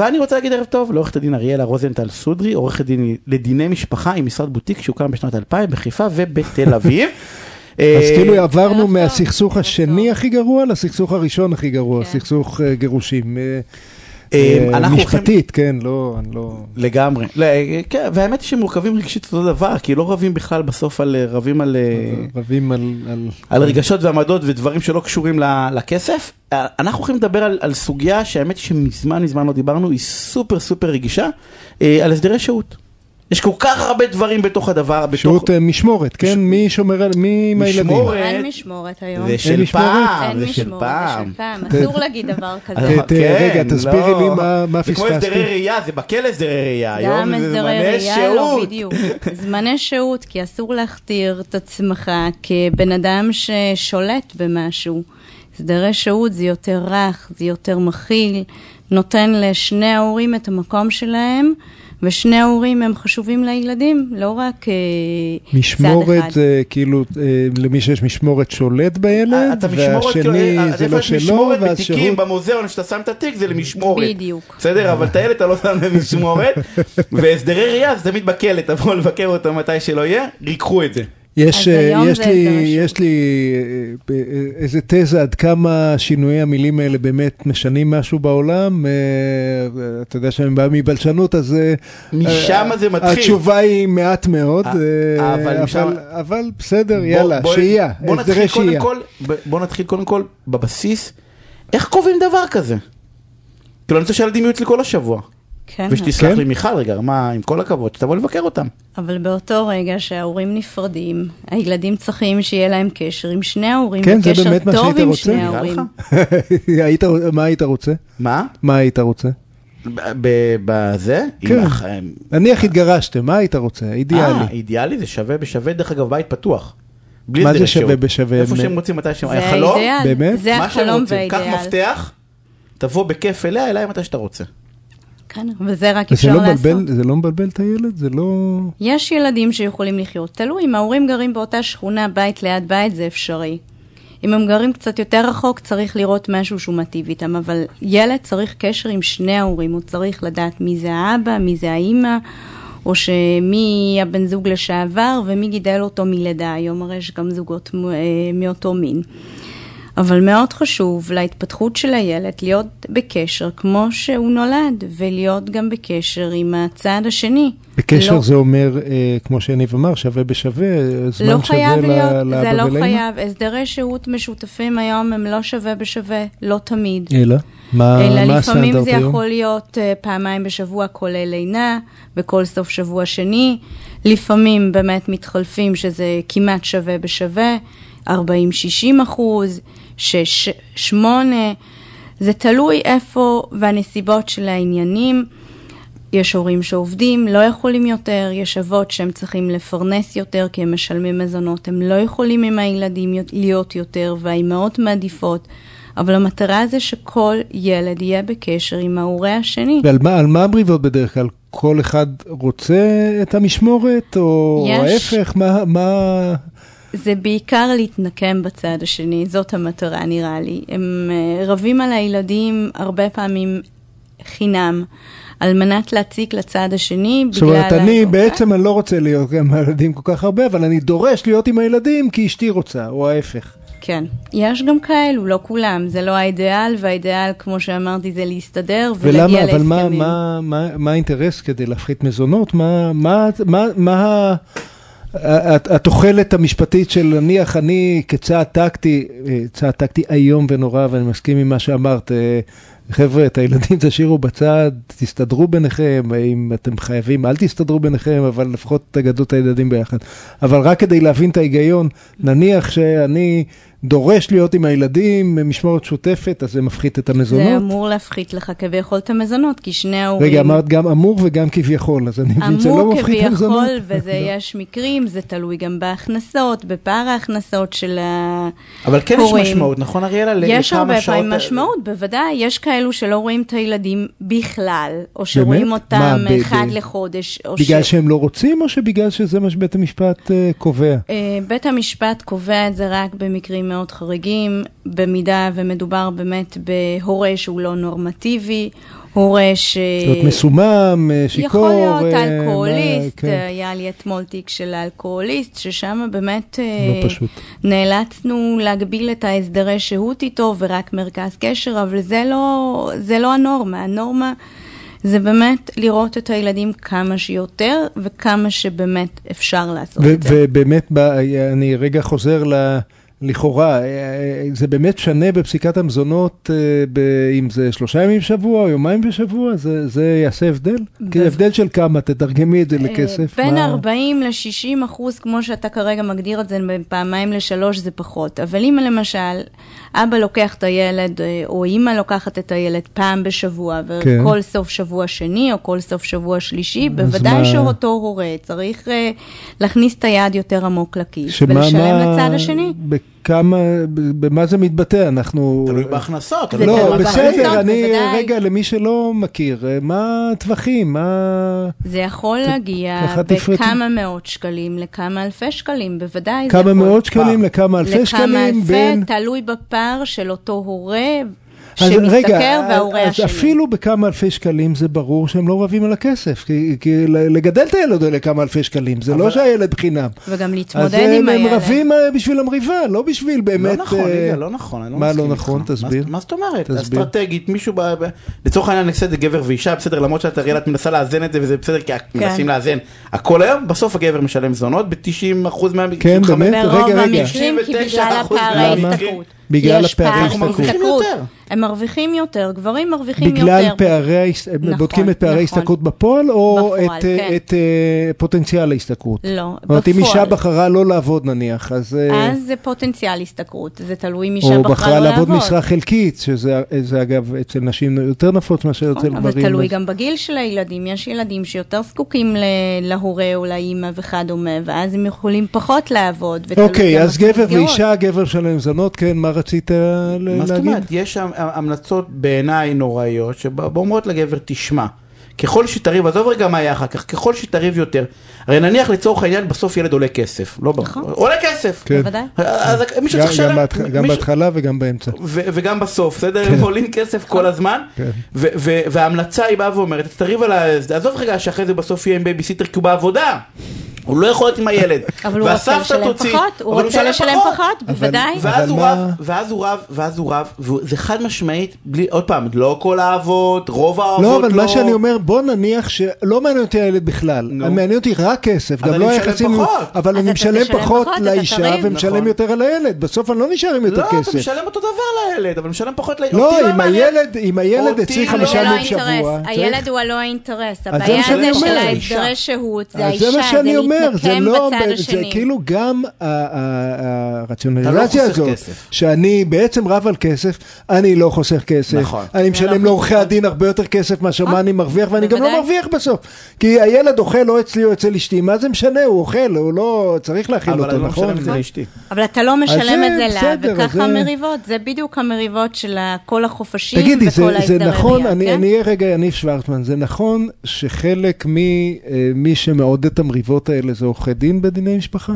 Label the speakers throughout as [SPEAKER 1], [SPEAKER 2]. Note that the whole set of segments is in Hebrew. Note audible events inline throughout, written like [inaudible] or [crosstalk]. [SPEAKER 1] ואני רוצה להגיד ערב טוב לעורכת הדין אריאלה רוזנטל סודרי, עורכת דין לדיני משפחה עם משרד בוטיק שהוקם בשנת 2000 בחיפה
[SPEAKER 2] [laughs]
[SPEAKER 1] ובתל אביב.
[SPEAKER 2] אז
[SPEAKER 1] אה,
[SPEAKER 2] כאילו עברנו מהסכסוך השני הכי גרוע לסכסוך הראשון הכי גרוע, סכסוך אה, גירושים.
[SPEAKER 1] אה,
[SPEAKER 2] אה, משפטית, כן, לא...
[SPEAKER 1] לגמרי. לא, אה, כן, והאמת היא שמורכבים רגשית אותו דבר, כי לא רבים בכלל בסוף על אה, רבים על...
[SPEAKER 2] רבים
[SPEAKER 1] על
[SPEAKER 2] אה.
[SPEAKER 1] רגשות ועמדות ודברים שלא קשורים לכסף. אה, אנחנו הולכים לדבר על סוגיה שהאמת היא שמזמן מזמן לא דיברנו, היא סופר סופר רגישה, אה, על הסדרי שהות. יש כל כך הרבה דברים בתוך הדבר, בתוך...
[SPEAKER 2] שירות משמורת, כן? מי שומר על... מי עם הילדים?
[SPEAKER 1] משמורת.
[SPEAKER 3] אין משמורת היום. אה,
[SPEAKER 1] זה של פעם, זה של
[SPEAKER 3] פעם. אסור להגיד
[SPEAKER 1] [laughs]
[SPEAKER 3] דבר כזה.
[SPEAKER 2] אה, רגע, תסבירי לי מה פספסתי.
[SPEAKER 1] זה כמו הסדרי ראייה, זה בכל הסדרי ראייה.
[SPEAKER 3] גם הסדרי ראייה, לא בדיוק.
[SPEAKER 1] אה,
[SPEAKER 3] זמני שהות, כי אסור להכתיר את עצמך כבן אדם ששולט במשהו. הסדרי שהות זה יותר רך, זה יותר מכיל, נותן לשני ההורים את המקום שלהם. ושני ההורים הם חשובים לילדים, לא רק אה,
[SPEAKER 2] משמורת, צד אחד.
[SPEAKER 1] אה,
[SPEAKER 2] משמורת, כאילו, למי שיש משמורת שולט
[SPEAKER 1] אה,
[SPEAKER 2] בילד, והשני זה לא שלו,
[SPEAKER 1] משמורת בתיקים במוזיאון, כשאתה שם את התיק זה למשמורת.
[SPEAKER 3] בדיוק.
[SPEAKER 1] בסדר, אבל את הילד אתה לא שם למשמורת, והסדרי ראייה זה תמיד בכלא, תבואו לבקר אותו מתי שלא יהיה, ריקחו את זה.
[SPEAKER 2] יש, אה, יש, לי, יש לי אה, איזה תזה עד כמה שינויי המילים האלה באמת משנים משהו בעולם. אה, אתה יודע שאני בא מבלשנות, אז... אה,
[SPEAKER 1] משם זה מתחיל.
[SPEAKER 2] התשובה היא מעט מאוד, אה, אבל, משם... אבל בסדר, בוא, יאללה, בוא, שהייה,
[SPEAKER 1] בוא הסדרי שהייה. כל, בוא נתחיל קודם כל בבסיס, איך קובעים דבר כזה? כאילו, אני רוצה שהילדים יהיו אצלי כל השבוע.
[SPEAKER 3] כן.
[SPEAKER 1] ושתסלח כן? לי מיכל רגע, מה, עם כל הכבוד, שתבוא לבקר אותם.
[SPEAKER 3] אבל באותו רגע שההורים נפרדים, הילדים צריכים שיהיה להם קשר עם שני ההורים,
[SPEAKER 2] כן,
[SPEAKER 3] וקשר
[SPEAKER 2] באמת
[SPEAKER 3] טוב
[SPEAKER 2] מה
[SPEAKER 3] עם רוצה? שני ההורים.
[SPEAKER 2] [laughs] היית, מה היית רוצה?
[SPEAKER 1] מה?
[SPEAKER 2] מה היית רוצה?
[SPEAKER 1] בזה?
[SPEAKER 2] כן. נניח התגרשתם, מה היית רוצה? אידיאלי. אה,
[SPEAKER 1] אידיאלי זה שווה בשווה, דרך אגב, בית פתוח.
[SPEAKER 2] מה זה שווה בשווה?
[SPEAKER 1] איפה שהם רוצים, מתי שהם...
[SPEAKER 3] זה האידיאל.
[SPEAKER 2] באמת?
[SPEAKER 3] זה החלום והאידיאל.
[SPEAKER 1] קח מפתח, תבוא בכיף אליה, אליי מתי שאתה רוצה.
[SPEAKER 3] כן, וזה רק אפשר
[SPEAKER 2] לא
[SPEAKER 3] לעשות.
[SPEAKER 2] מבלבל, זה לא מבלבל את הילד? זה לא...
[SPEAKER 3] יש ילדים שיכולים לחיות. תלוי, אם ההורים גרים באותה שכונה, בית ליד בית, זה אפשרי. אם הם גרים קצת יותר רחוק, צריך לראות משהו שהוא מטיב איתם, אבל ילד צריך קשר עם שני ההורים, הוא צריך לדעת מי זה האבא, מי זה האימא, או שמי הבן זוג לשעבר ומי גידל אותו מלידה. היום הרי יש גם זוגות אה, מאותו מין. אבל מאוד חשוב להתפתחות של הילד להיות בקשר כמו שהוא נולד, ולהיות גם בקשר עם הצד השני.
[SPEAKER 2] בקשר לא... זה אומר, אה, כמו שיניב אמר, שווה בשווה, זמן
[SPEAKER 3] לא
[SPEAKER 2] שווה לאבא
[SPEAKER 3] ולאמא? לא חייב להיות,
[SPEAKER 2] זה
[SPEAKER 3] לא חייב. הסדרי שהות משותפים היום הם לא שווה בשווה, לא תמיד.
[SPEAKER 2] אלא? מה,
[SPEAKER 3] אלא
[SPEAKER 2] אה, מה
[SPEAKER 3] לפעמים זה ביום? יכול להיות אה, פעמיים בשבוע כולל לינה, בכל סוף שבוע שני. לפעמים באמת מתחלפים שזה כמעט שווה בשווה, 40-60 אחוז. שש, שמונה, זה תלוי איפה והנסיבות של העניינים. יש הורים שעובדים, לא יכולים יותר, יש אבות שהם צריכים לפרנס יותר כי הם משלמים מזונות, הם לא יכולים עם הילדים להיות יותר והאימהות מעדיפות. אבל המטרה זה שכל ילד יהיה בקשר עם ההורה השני.
[SPEAKER 2] ועל מה, מה המריבות בדרך כלל? כל אחד רוצה את המשמורת, או יש. ההפך? מה... מה...
[SPEAKER 3] זה בעיקר להתנקם בצד השני, זאת המטרה נראה לי. הם אה, רבים על הילדים הרבה פעמים חינם, על מנת להציק לצד השני
[SPEAKER 2] בגלל... זאת אומרת, אני בעצם אני לא רוצה להיות עם הילדים כל כך הרבה, אבל אני דורש להיות עם הילדים כי אשתי רוצה, או ההפך.
[SPEAKER 3] כן. יש גם כאלו, לא כולם. זה לא האידיאל, והאידיאל, כמו שאמרתי, זה להסתדר
[SPEAKER 2] ולהגיע
[SPEAKER 3] להסכמים.
[SPEAKER 2] ולמה, אבל מה, מה, מה, מה האינטרס כדי להפחית מזונות? מה, מה, מה, מה... התוחלת המשפטית של נניח אני כצעד טקטי, אה, צעד טקטי איום ונורא, ואני מסכים עם מה שאמרת, אה, חבר'ה, את הילדים [laughs] תשאירו בצד, תסתדרו ביניכם, אם אתם חייבים, אל תסתדרו ביניכם, אבל לפחות תגדו את הילדים ביחד. אבל רק כדי להבין את ההיגיון, נניח שאני דורש להיות עם הילדים, משמורת שותפת, אז זה מפחית את המזונות.
[SPEAKER 3] זה אמור להפחית לך כביכול את המזונות, כי שני ההורים...
[SPEAKER 2] רגע, אמרת גם אמור וגם כביכול, אז אני מבין שזה לא מפחית את המזונות. לא.
[SPEAKER 3] אמור כביכול, [laughs] וזה יש מקרים, זה תלוי גם בהכנסות, בפער ההכנסות של ההורים.
[SPEAKER 1] אבל כן יש משמעות, נכון, אריאלה?
[SPEAKER 3] יש הרבה פעמים
[SPEAKER 2] אה,
[SPEAKER 1] אה,
[SPEAKER 3] משמעות, בוודאי, יש כאלו שלא רואים את הילדים בכלל, או שרואים אותם אחד לחודש.
[SPEAKER 2] בגלל שהם לא רוצים, או שבגלל שזה מה שבית המשפט אה, קובע?
[SPEAKER 3] אה, בית המשפט קובע את זה רק במקרים... מאוד חריגים, במידה ומדובר באמת בהורה שהוא לא נורמטיבי, הורה ש...
[SPEAKER 2] להיות מסומם, אה, שיכור.
[SPEAKER 3] יכול להיות
[SPEAKER 2] אה, מה-
[SPEAKER 3] אלכוהוליסט, אה,
[SPEAKER 2] כן.
[SPEAKER 3] היה לי אתמול תיק של אלכוהוליסט, ששם באמת
[SPEAKER 2] לא
[SPEAKER 3] אה,
[SPEAKER 2] פשוט.
[SPEAKER 3] נאלצנו להגביל את ההסדרי שהות איתו ורק מרכז קשר, אבל זה לא, זה לא הנורמה. הנורמה זה באמת לראות את הילדים כמה שיותר וכמה שבאמת אפשר לעשות
[SPEAKER 2] ו-
[SPEAKER 3] את זה.
[SPEAKER 2] ובאמת, ב- אני רגע חוזר ל... לכאורה, אה, אה, זה באמת שונה בפסיקת המזונות, אה, ב- אם זה שלושה ימים בשבוע או יומיים בשבוע, זה, זה יעשה הבדל?
[SPEAKER 3] ב-
[SPEAKER 2] כי הבדל של כמה, תתרגמי את זה
[SPEAKER 3] אה,
[SPEAKER 2] לכסף.
[SPEAKER 3] בין
[SPEAKER 2] מה-
[SPEAKER 3] 40 ל-60 אחוז, כמו שאתה כרגע מגדיר את זה, בין פעמיים לשלוש זה פחות. אבל אם למשל, אבא לוקח את הילד, אה, או אימא לוקחת את הילד פעם בשבוע,
[SPEAKER 2] כן.
[SPEAKER 3] וכל סוף שבוע שני, או כל סוף שבוע שלישי, בוודאי
[SPEAKER 2] מה-
[SPEAKER 3] שאותו הורה צריך אה, להכניס את היד יותר עמוק לכיס,
[SPEAKER 2] שמה-
[SPEAKER 3] ולשלם
[SPEAKER 2] מה-
[SPEAKER 3] לצד השני.
[SPEAKER 2] בכמה, ב- במה זה מתבטא? אנחנו...
[SPEAKER 1] תלוי בהכנסות.
[SPEAKER 3] זה
[SPEAKER 1] תלוי
[SPEAKER 3] תלוי
[SPEAKER 2] לא,
[SPEAKER 1] ברמת
[SPEAKER 3] בהכנסות,
[SPEAKER 1] החיים.
[SPEAKER 2] בסדר, אני,
[SPEAKER 3] בוודאי.
[SPEAKER 2] רגע, למי שלא מכיר, אה, מה הטווחים? מה...
[SPEAKER 3] זה יכול להגיע
[SPEAKER 2] ככה תפרטי.
[SPEAKER 3] בכמה מאות שקלים לכמה אלפי שקלים, בוודאי. זה
[SPEAKER 2] כמה
[SPEAKER 3] יכול.
[SPEAKER 2] מאות שקלים לכמה אלפי
[SPEAKER 3] לכמה
[SPEAKER 2] שקלים
[SPEAKER 3] אלפי,
[SPEAKER 2] בין...
[SPEAKER 3] תלוי בפער של אותו הורה
[SPEAKER 2] אז רגע, אה,
[SPEAKER 3] שמשתכר וההורה
[SPEAKER 2] אז
[SPEAKER 3] השני.
[SPEAKER 2] אפילו בכמה אלפי שקלים זה ברור שהם לא רבים על הכסף, כי, כי לגדל את הילד עולה כמה אלפי שקלים, זה לא שהילד חינם.
[SPEAKER 3] וגם
[SPEAKER 2] אז
[SPEAKER 3] להתמודד
[SPEAKER 2] הם, הם
[SPEAKER 3] עם הילד.
[SPEAKER 2] רבים אה, בשביל המריבה, לא בשביל באמת...
[SPEAKER 1] לא נכון,
[SPEAKER 2] אה,
[SPEAKER 1] רגע, לא נכון, אני לא
[SPEAKER 2] מה
[SPEAKER 1] מסכים
[SPEAKER 2] לא נכון?
[SPEAKER 1] איתך.
[SPEAKER 2] תסביר.
[SPEAKER 1] מה- מה זאת אומרת?
[SPEAKER 2] תסביר.
[SPEAKER 1] אסטרטגית, מישהו ב... ב- לצורך העניין נעשה את זה גבר ואישה, בסדר, למרות שאת אריאל את מנסה לאזן את זה וזה בסדר, כי מנסים לאזן הכל היום, בסוף הגבר משלם זונות ב-90% מהמקרים.
[SPEAKER 2] כן,
[SPEAKER 1] חמש-
[SPEAKER 2] באמת?
[SPEAKER 3] ברוב
[SPEAKER 2] רגע, רגע.
[SPEAKER 3] המקרים, כי
[SPEAKER 1] 99%
[SPEAKER 3] בגלל הפער
[SPEAKER 1] למה?
[SPEAKER 3] ההשתכרות.
[SPEAKER 2] בגלל
[SPEAKER 3] יש
[SPEAKER 2] הפערי
[SPEAKER 3] פער
[SPEAKER 2] ההשתכרות.
[SPEAKER 1] אנחנו מרוויחים
[SPEAKER 3] השתכרות.
[SPEAKER 1] יותר.
[SPEAKER 3] הם מרוויחים יותר, גברים מרוויחים
[SPEAKER 2] בגלל
[SPEAKER 3] יותר.
[SPEAKER 2] פערי, ההס- הם
[SPEAKER 3] נכון,
[SPEAKER 2] בודקים את פערי
[SPEAKER 3] נכון.
[SPEAKER 2] ההשתכרות בפועל, או
[SPEAKER 3] בפועל,
[SPEAKER 2] את, אה,
[SPEAKER 3] כן.
[SPEAKER 2] את אה, פוטנציאל ההשתכרות?
[SPEAKER 3] לא,
[SPEAKER 2] זאת אומרת, אם אישה
[SPEAKER 3] בפועל.
[SPEAKER 2] בחרה לא לעבוד נניח, אז... אה,
[SPEAKER 3] אז זה פוטנציאל השתכרות, זה תלוי מי
[SPEAKER 2] או
[SPEAKER 3] שבחרה
[SPEAKER 2] בחרה
[SPEAKER 3] לא
[SPEAKER 2] לעבוד
[SPEAKER 3] לעבוד.
[SPEAKER 2] משרה חלקית, שזה זה אגב אצל נשים יותר נפוץ מאשר אצל
[SPEAKER 3] נכון,
[SPEAKER 2] גברים.
[SPEAKER 3] אבל תלוי
[SPEAKER 2] אז-
[SPEAKER 3] גם בגיל של הילדים, יש ילדים שיותר זקוקים ל- להורה או לאימא וכדומה, ואז הם יכולים פחות לעבוד. ותלוי
[SPEAKER 2] אוקיי,
[SPEAKER 3] גם
[SPEAKER 2] אז גבר
[SPEAKER 3] במסגרות.
[SPEAKER 2] ואישה, גבר שלהם זונות, כן, מה רצית ל-
[SPEAKER 1] מה זאת
[SPEAKER 2] לא, להגיד?
[SPEAKER 1] אומרת? יש שם המלצות בעיניי נוראיות, שאומרות לגבר, תשמע, ככל שתריב, עזוב רגע מה היה אחר כך, ככל שתריב יותר, הרי נניח לצורך העניין, בסוף ילד עולה כסף, לא ברור,
[SPEAKER 3] נכון.
[SPEAKER 1] עולה כסף.
[SPEAKER 2] כן.
[SPEAKER 3] בוודאי.
[SPEAKER 1] אז מישהו
[SPEAKER 2] גם-
[SPEAKER 1] צריך
[SPEAKER 2] גם
[SPEAKER 1] לשלם.
[SPEAKER 2] בהתח- גם
[SPEAKER 1] מישהו-
[SPEAKER 2] בהתחלה וגם באמצע.
[SPEAKER 1] ו- וגם בסוף, בסדר? הם עולים כסף כל הזמן,
[SPEAKER 2] כן.
[SPEAKER 1] ו- ו- וההמלצה היא באה ואומרת, תריב על ה... עזוב רגע שאחרי זה בסוף יהיה עם בייביסיטר כי הוא בעבודה. הוא לא יכול להיות עם
[SPEAKER 2] [laughs]
[SPEAKER 1] הילד.
[SPEAKER 3] אבל הוא רוצה
[SPEAKER 1] והסבתא
[SPEAKER 3] לשלם
[SPEAKER 1] תוציא-
[SPEAKER 3] פחות, הוא
[SPEAKER 1] אבל
[SPEAKER 3] רוצה לשלם פחות,
[SPEAKER 2] אבל-
[SPEAKER 3] בוודאי.
[SPEAKER 2] ו-
[SPEAKER 1] ואז
[SPEAKER 2] אבל
[SPEAKER 1] הוא
[SPEAKER 2] מה-
[SPEAKER 1] רב, ואז הוא רב, ואז הוא רב, וזה חד משמעית, בלי, עוד פעם, לא כל האבות, רוב האבות לא.
[SPEAKER 2] לא, אבל מה שאני אומר, בוא נניח שלא מעניין אותי הילד בכלל,
[SPEAKER 1] נו.
[SPEAKER 2] מעניין אותי רק כסף,
[SPEAKER 1] אז
[SPEAKER 2] גם
[SPEAKER 1] אני
[SPEAKER 2] לא
[SPEAKER 1] משלם
[SPEAKER 2] היחסים,
[SPEAKER 1] פחות.
[SPEAKER 2] אבל
[SPEAKER 3] אז
[SPEAKER 2] אני
[SPEAKER 3] אתה
[SPEAKER 2] משלם
[SPEAKER 3] תשלם
[SPEAKER 2] פחות
[SPEAKER 3] פחות, אתה
[SPEAKER 2] לאישה
[SPEAKER 3] תריב.
[SPEAKER 2] ומשלם
[SPEAKER 1] נכון.
[SPEAKER 2] יותר על הילד, בסוף אני לא נשאר עם יותר
[SPEAKER 1] לא, אתה
[SPEAKER 2] כסף.
[SPEAKER 1] משלם אותו דבר לילד, אבל משלם פחות ל... אותי
[SPEAKER 2] לא, אם
[SPEAKER 1] מעניין.
[SPEAKER 2] הילד, אם הילד
[SPEAKER 1] אותי
[SPEAKER 2] אצלי
[SPEAKER 1] לא
[SPEAKER 2] חמישה
[SPEAKER 1] מעניין.
[SPEAKER 2] ימים
[SPEAKER 3] זה לא
[SPEAKER 2] בשבוע,
[SPEAKER 3] האינטרס.
[SPEAKER 2] צריך-
[SPEAKER 3] הילד הוא הלא האינטרס,
[SPEAKER 2] מה
[SPEAKER 3] הבעיה
[SPEAKER 2] שאני
[SPEAKER 3] זה
[SPEAKER 2] אומר.
[SPEAKER 3] של
[SPEAKER 1] האישה.
[SPEAKER 3] ההסדרי שהות, זה
[SPEAKER 2] אז
[SPEAKER 3] האישה,
[SPEAKER 2] זה מה שאני אומר, זה
[SPEAKER 3] להתנקם
[SPEAKER 2] לא,
[SPEAKER 3] בצד
[SPEAKER 2] ב- זה
[SPEAKER 3] השני.
[SPEAKER 2] כאילו גם ה- ה- ה-
[SPEAKER 1] אתה
[SPEAKER 2] הרציונליזציה
[SPEAKER 1] לא חוסך
[SPEAKER 2] הזאת,
[SPEAKER 1] כסף.
[SPEAKER 2] שאני בעצם רב על כסף, אני לא חוסך כסף,
[SPEAKER 1] נכון.
[SPEAKER 2] אני
[SPEAKER 3] לא
[SPEAKER 2] משלם
[SPEAKER 3] חוסך.
[SPEAKER 2] לעורכי הדין הרבה יותר כסף מאשר מה
[SPEAKER 3] אה,
[SPEAKER 2] אני מרוויח, ואני גם לא
[SPEAKER 3] בוודאי.
[SPEAKER 2] מרוויח בסוף, כי הילד אוכל או אצלי או אצל אשתי, מה זה משנה, הוא אוכל, הוא לא צריך להאכיל
[SPEAKER 1] אבל
[SPEAKER 2] אותו,
[SPEAKER 1] אני לא
[SPEAKER 2] נכון?
[SPEAKER 1] משלם את זה לאשתי.
[SPEAKER 3] אבל אתה לא משלם
[SPEAKER 2] זה
[SPEAKER 3] את זה לה,
[SPEAKER 2] בסדר,
[SPEAKER 3] וככה
[SPEAKER 2] זה-
[SPEAKER 3] המריבות, זה בדיוק המריבות של ה- כל החופשים וכל
[SPEAKER 2] תגידי, זה,
[SPEAKER 3] ההסדרי.
[SPEAKER 2] זה נכון,
[SPEAKER 3] ביד,
[SPEAKER 2] אני,
[SPEAKER 3] כן?
[SPEAKER 2] אני אהיה רגע יניב שוורצמן, זה נכון שחלק ממי שמעודד את המריבות האלה זה עורכי דין בדיני משפחה?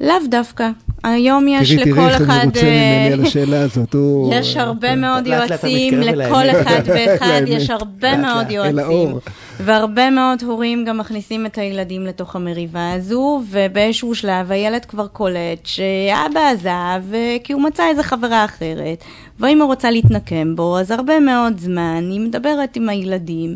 [SPEAKER 3] לאו דווקא. היום יש
[SPEAKER 2] תראי, תראי
[SPEAKER 3] לכל
[SPEAKER 2] איך אני
[SPEAKER 3] אחד...
[SPEAKER 2] רוצה ממני על
[SPEAKER 3] אה,
[SPEAKER 2] השאלה הזאת. הוא-
[SPEAKER 3] [laughs] יש הרבה מאוד
[SPEAKER 1] אה, כן. לאט לאט אתה
[SPEAKER 3] יועצים,
[SPEAKER 1] מתקרב אל
[SPEAKER 3] לכל
[SPEAKER 1] [laughs] האמת.
[SPEAKER 3] אחד ואחד
[SPEAKER 2] לאמת.
[SPEAKER 3] יש הרבה
[SPEAKER 1] לאט
[SPEAKER 3] מאוד
[SPEAKER 1] לאט, אל
[SPEAKER 2] האור.
[SPEAKER 3] יועצים. והרבה מאוד הורים גם מכניסים את הילדים לתוך המריבה הזו, ובאיזשהו שלב הילד כבר קולט שאבא עזב אה, כי הוא מצא איזה חברה אחרת, ואמא רוצה להתנקם בו, אז הרבה מאוד זמן היא מדברת עם הילדים,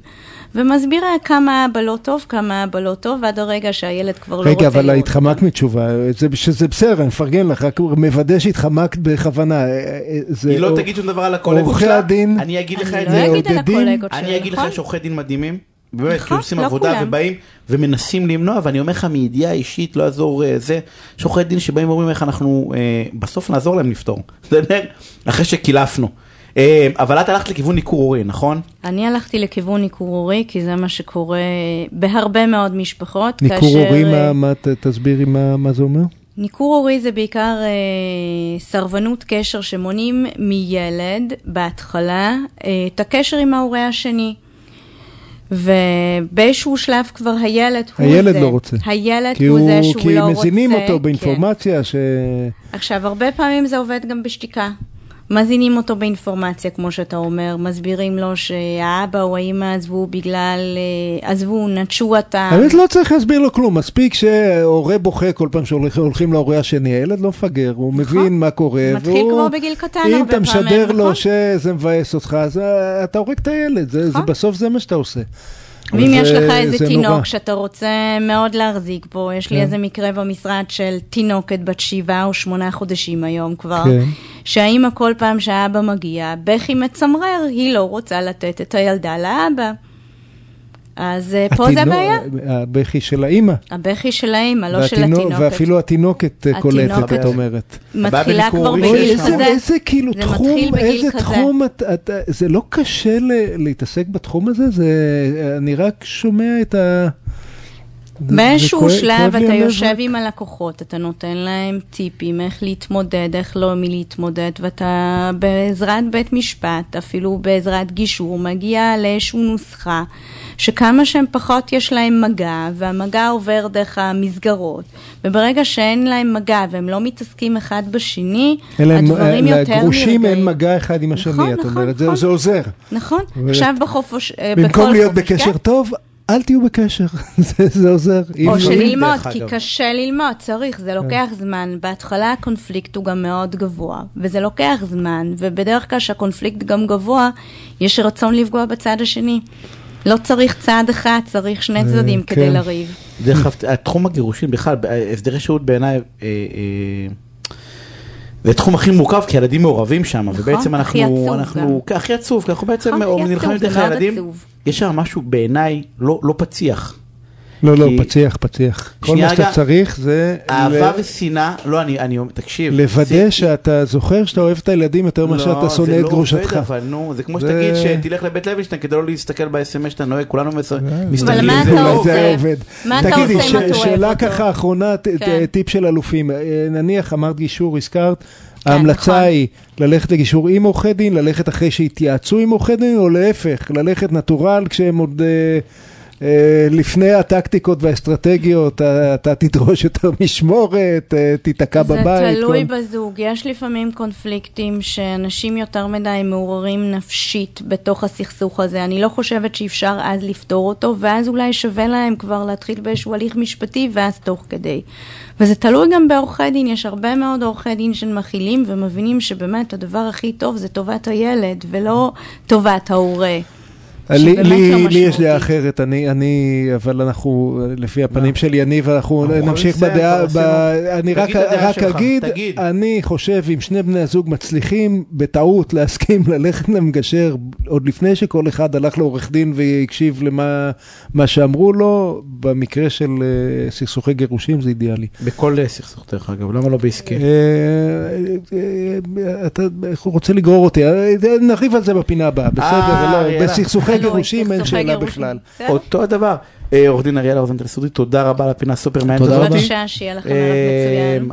[SPEAKER 3] ומסבירה כמה אבא לא טוב, כמה אבא לא טוב, ועד הרגע שהילד כבר לא רוצה לראות.
[SPEAKER 2] רגע, אבל
[SPEAKER 3] אותם.
[SPEAKER 2] התחמקת מתשובה, זה- שזה בסדר, אני מפרגן לך, רק מוודא שהתחמקת בכוונה. אה, אה, זה-
[SPEAKER 1] היא לא
[SPEAKER 2] או-
[SPEAKER 1] תגיד שום דבר על הקולגות
[SPEAKER 2] עורכי
[SPEAKER 1] שלה.
[SPEAKER 2] הדין-
[SPEAKER 1] אני אגיד לך
[SPEAKER 3] אני
[SPEAKER 1] את
[SPEAKER 3] לא
[SPEAKER 1] זה.
[SPEAKER 3] אגיד על
[SPEAKER 2] מעודדים-
[SPEAKER 3] הקולגות שלו,
[SPEAKER 1] אני אגיד לך
[SPEAKER 3] נכון?
[SPEAKER 1] שעורכי דין מדהימים, באמת,
[SPEAKER 3] נכון,
[SPEAKER 1] שעושים
[SPEAKER 3] לא
[SPEAKER 1] עבודה
[SPEAKER 3] כולם.
[SPEAKER 1] ובאים ומנסים למנוע, ואני אומר לך מידיעה אישית, לא יעזור אה, זה, יש עורכי דין שבאים ואומרים איך אנחנו אה, בסוף נעזור להם לפתור, [laughs] בסדר? אחרי שקילפנו. אה, אבל את הלכת לכיוון ניכור הורי, נכון?
[SPEAKER 3] אני הלכתי לכיוון ניכור הורי, כי זה מה שקורה בהרבה מאוד משפחות.
[SPEAKER 2] ניכור
[SPEAKER 3] כאשר,
[SPEAKER 2] הורים,
[SPEAKER 3] אה,
[SPEAKER 2] מה- מה- ת- תסבירי מה מה זה אומר?
[SPEAKER 3] ניכור הורי זה בעיקר אה, סרבנות קשר שמונעים מילד בהתחלה אה, את הקשר עם ההורה השני. ובאיזשהו שלב כבר הילד הוא
[SPEAKER 2] הילד
[SPEAKER 3] זה.
[SPEAKER 2] לא רוצה.
[SPEAKER 3] הילד
[SPEAKER 2] כי
[SPEAKER 3] הוא זה
[SPEAKER 2] הוא,
[SPEAKER 3] שהוא
[SPEAKER 2] כי
[SPEAKER 3] לא רוצה.
[SPEAKER 2] מזינים אותו
[SPEAKER 3] כן.
[SPEAKER 2] באינפורמציה ש...
[SPEAKER 3] עכשיו, הרבה פעמים זה עובד גם בשתיקה. מזינים אותו באינפורמציה, כמו שאתה אומר, מסבירים לו שהאבא או האמא עזבו בגלל, אה, עזבו, נטשו אותם.
[SPEAKER 2] האמת לא צריך להסביר לו כלום, מספיק שהורה בוכה כל פעם שהולכים להורה השני, הילד לא מפגר, הוא מבין מה קורה.
[SPEAKER 3] נכון. מתחיל
[SPEAKER 2] והוא-
[SPEAKER 3] כבר בגיל קטן
[SPEAKER 2] אם
[SPEAKER 3] הרבה
[SPEAKER 2] אתה משדר
[SPEAKER 3] פעמים,
[SPEAKER 2] לו
[SPEAKER 3] נכון?
[SPEAKER 2] שזה מבאס אותך, אז אה, אתה הורג את הילד, זה- זה-
[SPEAKER 3] נכון.
[SPEAKER 2] בסוף זה מה שאתה עושה.
[SPEAKER 3] ואם יש
[SPEAKER 2] זה-
[SPEAKER 3] לך איזה
[SPEAKER 2] זה נורא. כן.
[SPEAKER 3] תינוק שאתה רוצה מאוד להחזיק בו, יש לי איזה מקרה במשרד של תינוקת בת שבעה או שמונה חודשים היום כבר,
[SPEAKER 2] כן.
[SPEAKER 3] שהאימא כל פעם שהאבא מגיע, בכי מצמרר, היא לא רוצה לתת את הילדה לאבא. אז אה, פה זה
[SPEAKER 2] התינוק-
[SPEAKER 3] הבעיה.
[SPEAKER 2] הבכי של האימא.
[SPEAKER 3] הבכי של האימא, לא של
[SPEAKER 2] והתינוק-
[SPEAKER 3] התינוקת.
[SPEAKER 2] ואפילו התינוקת אה, קולטת,
[SPEAKER 3] התינוקת.
[SPEAKER 2] את אומרת.
[SPEAKER 1] הבעיה
[SPEAKER 3] מתחילה
[SPEAKER 1] בניכור
[SPEAKER 3] כבר
[SPEAKER 1] הורי שיש
[SPEAKER 3] בגיל
[SPEAKER 1] שם.
[SPEAKER 2] איזה-
[SPEAKER 3] כזה.
[SPEAKER 2] איזה כאילו
[SPEAKER 3] זה מתחיל
[SPEAKER 2] תחום,
[SPEAKER 3] בגיל
[SPEAKER 2] איזה
[SPEAKER 3] כזה.
[SPEAKER 2] תחום, את- את- זה לא קשה ל- להתעסק בתחום הזה, זה, אני רק שומע את ה... זה- זה
[SPEAKER 3] באיזשהו
[SPEAKER 2] כואב-
[SPEAKER 3] שלב
[SPEAKER 2] כואב לי
[SPEAKER 3] אתה
[SPEAKER 2] הלב
[SPEAKER 3] יושב
[SPEAKER 2] רק.
[SPEAKER 3] עם הלקוחות, אתה נותן להם טיפים איך להתמודד, איך לא מי להתמודד, ואתה בעזרת בית משפט, אפילו בעזרת גישור, מגיע לאיזושהי נוסחה, שכמה שהם פחות יש להם מגע, והמגע עובר דרך המסגרות, וברגע שאין להם מגע והם לא מתעסקים אחד בשני,
[SPEAKER 2] אלא הם- אה,
[SPEAKER 3] הדברים יותר
[SPEAKER 2] לגרושים אין
[SPEAKER 3] נרגעים.
[SPEAKER 2] מגע אחד עם השני,
[SPEAKER 3] נכון,
[SPEAKER 2] את
[SPEAKER 3] נכון,
[SPEAKER 2] אומרת, זה-
[SPEAKER 3] נכון.
[SPEAKER 2] זה עוזר.
[SPEAKER 3] נכון,
[SPEAKER 2] ו-
[SPEAKER 3] עכשיו בחופש, אה, בכל
[SPEAKER 2] במקום להיות
[SPEAKER 3] חופש, כן?
[SPEAKER 2] בקשר טוב, אל תהיו בקשר, [laughs] זה- זה עוזר. אם
[SPEAKER 3] או
[SPEAKER 2] לא-
[SPEAKER 3] שללמוד,
[SPEAKER 1] דרך
[SPEAKER 3] כי
[SPEAKER 1] אגב. כן.
[SPEAKER 3] קשה ללמוד, צריך, זה לוקח זמן. בהתחלה הקונפליקט הוא גם מאוד גבוה, וזה לוקח זמן, ובדרך כלל כשהקונפליקט גם גבוה, יש רצון לפגוע בצד השני. לא צריך צד אחד, צריך שני צדדים כדי
[SPEAKER 2] כן.
[SPEAKER 3] לריב.
[SPEAKER 1] דרך אגב, התחום הגירושין בכלל, הסדרי שהות בעיניי, אה, אה, זה תחום הכי מורכב, כי ילדים מעורבים שם,
[SPEAKER 3] נכון,
[SPEAKER 1] ובעצם
[SPEAKER 3] הכי
[SPEAKER 1] אנחנו,
[SPEAKER 3] עצוב
[SPEAKER 1] אנחנו, כן, הכי עצוב, כי אנחנו בעצם אה,
[SPEAKER 3] נכון, הכי
[SPEAKER 1] נלחמים
[SPEAKER 3] עצוב,
[SPEAKER 1] דרך
[SPEAKER 3] זה מאוד
[SPEAKER 1] הילדים,
[SPEAKER 3] עצוב.
[SPEAKER 1] יש שם משהו בעיניי לא לא פציח.
[SPEAKER 2] לא, לא,
[SPEAKER 1] כי-
[SPEAKER 2] פציח, פציח. כל
[SPEAKER 1] שנייה,
[SPEAKER 2] מה שאתה
[SPEAKER 1] רגע.
[SPEAKER 2] צריך זה...
[SPEAKER 1] אהבה
[SPEAKER 2] ל-
[SPEAKER 1] ושנאה, לא, אני, אני, תקשיב.
[SPEAKER 2] לוודא
[SPEAKER 1] זה-
[SPEAKER 2] שאתה זוכר שאתה אוהב את הילדים יותר
[SPEAKER 1] לא,
[SPEAKER 2] מאשר שאתה שונא את
[SPEAKER 1] זה
[SPEAKER 2] גרושתך.
[SPEAKER 1] לא עובד, אבל נו, זה כמו
[SPEAKER 2] זה-
[SPEAKER 1] שתגיד שתלך לבית לוינשטיין כדי לא להסתכל ב-SMS שאתה נוהג, כולנו מס-
[SPEAKER 3] אה, אבל
[SPEAKER 1] מסתכלים.
[SPEAKER 3] מה
[SPEAKER 1] זה לא
[SPEAKER 3] אתה
[SPEAKER 2] אולי
[SPEAKER 1] עובד.
[SPEAKER 2] זה
[SPEAKER 3] עושה?
[SPEAKER 2] היה עובד.
[SPEAKER 3] מה אתה
[SPEAKER 2] תגידי,
[SPEAKER 3] עושה אם
[SPEAKER 2] ש-
[SPEAKER 3] אתה אוהב
[SPEAKER 2] שאלה
[SPEAKER 3] אותו?
[SPEAKER 2] ככה אחרונה, ת- ת-
[SPEAKER 3] כן.
[SPEAKER 2] טיפ של אלופים. אה, נניח, אמרת גישור, הזכרת, ההמלצה
[SPEAKER 3] נכון.
[SPEAKER 2] היא ללכת לגישור עם עורכי דין, ללכת אחרי שהתייעצו עם עורכי דין, או להפך, ללכת נטורל כשהם עוד... אה, אה, לפני הטקטיקות והאסטרטגיות, אה, אתה תדרוש יותר משמורת, אה, תיתקע
[SPEAKER 3] זה
[SPEAKER 2] בבית. כן.
[SPEAKER 3] תלוי
[SPEAKER 2] כל-
[SPEAKER 3] בזוג, יש לפעמים קונפליקטים שאנשים יותר מדי מעוררים נפשית בתוך הסכסוך הזה. אני לא חושבת שאפשר אז לפתור אותו, ואז אולי שווה להם כבר להתחיל באיזשהו הליך משפטי, ואז תוך כדי. וזה תלוי גם בעורכי דין, יש הרבה מאוד עורכי דין שמכילים ומבינים שבאמת הדבר הכי טוב זה טובת הילד, ולא טובת ההורה.
[SPEAKER 2] לי,
[SPEAKER 3] שבאמת לא
[SPEAKER 2] לי, לי יש
[SPEAKER 3] משמעותי.
[SPEAKER 2] דעה אחרת, אני, אני, אבל אנחנו, לפי הפנים של יניב, אנחנו
[SPEAKER 1] אנחנו
[SPEAKER 2] נמשיך
[SPEAKER 1] יכולים
[SPEAKER 2] בדעה, ב...
[SPEAKER 1] לסיים, כבר עשינו.
[SPEAKER 2] אני רק,
[SPEAKER 1] תגיד את הדעה
[SPEAKER 2] רק
[SPEAKER 1] שלך,
[SPEAKER 2] אגיד,
[SPEAKER 1] תגיד.
[SPEAKER 2] אני חושב, אם שני בני הזוג מצליחים בטעות [laughs] להסכים ללכת למגשר, עוד לפני שכל אחד הלך לעורך דין והקשיב למה מה שאמרו לו, במקרה של אה, סכסוכי גירושים זה אידיאלי.
[SPEAKER 1] בכל אה, סכסוך דרך אגב, למה לא בעסקי?
[SPEAKER 2] אה, אה, אתה רוצה לגרור אותי, אה, נריב על זה בפינה הבאה, בסדר,
[SPEAKER 1] אה,
[SPEAKER 2] לא,
[SPEAKER 1] יאללה.
[SPEAKER 2] בסכסוכי
[SPEAKER 3] תלוי,
[SPEAKER 2] גירושים אין
[SPEAKER 3] סכסוכי
[SPEAKER 2] שאלה
[SPEAKER 3] גירושים.
[SPEAKER 2] בכלל.
[SPEAKER 3] בסדר?
[SPEAKER 1] אותו הדבר. אה, עורך דין אריאל רוזנטל סודי, תודה רבה על הפינה הסופר מעניינת
[SPEAKER 2] תודה
[SPEAKER 1] הזאת.
[SPEAKER 2] רבה.
[SPEAKER 3] בבקשה, שיהיה לכם ערב מצוין.
[SPEAKER 1] אמ,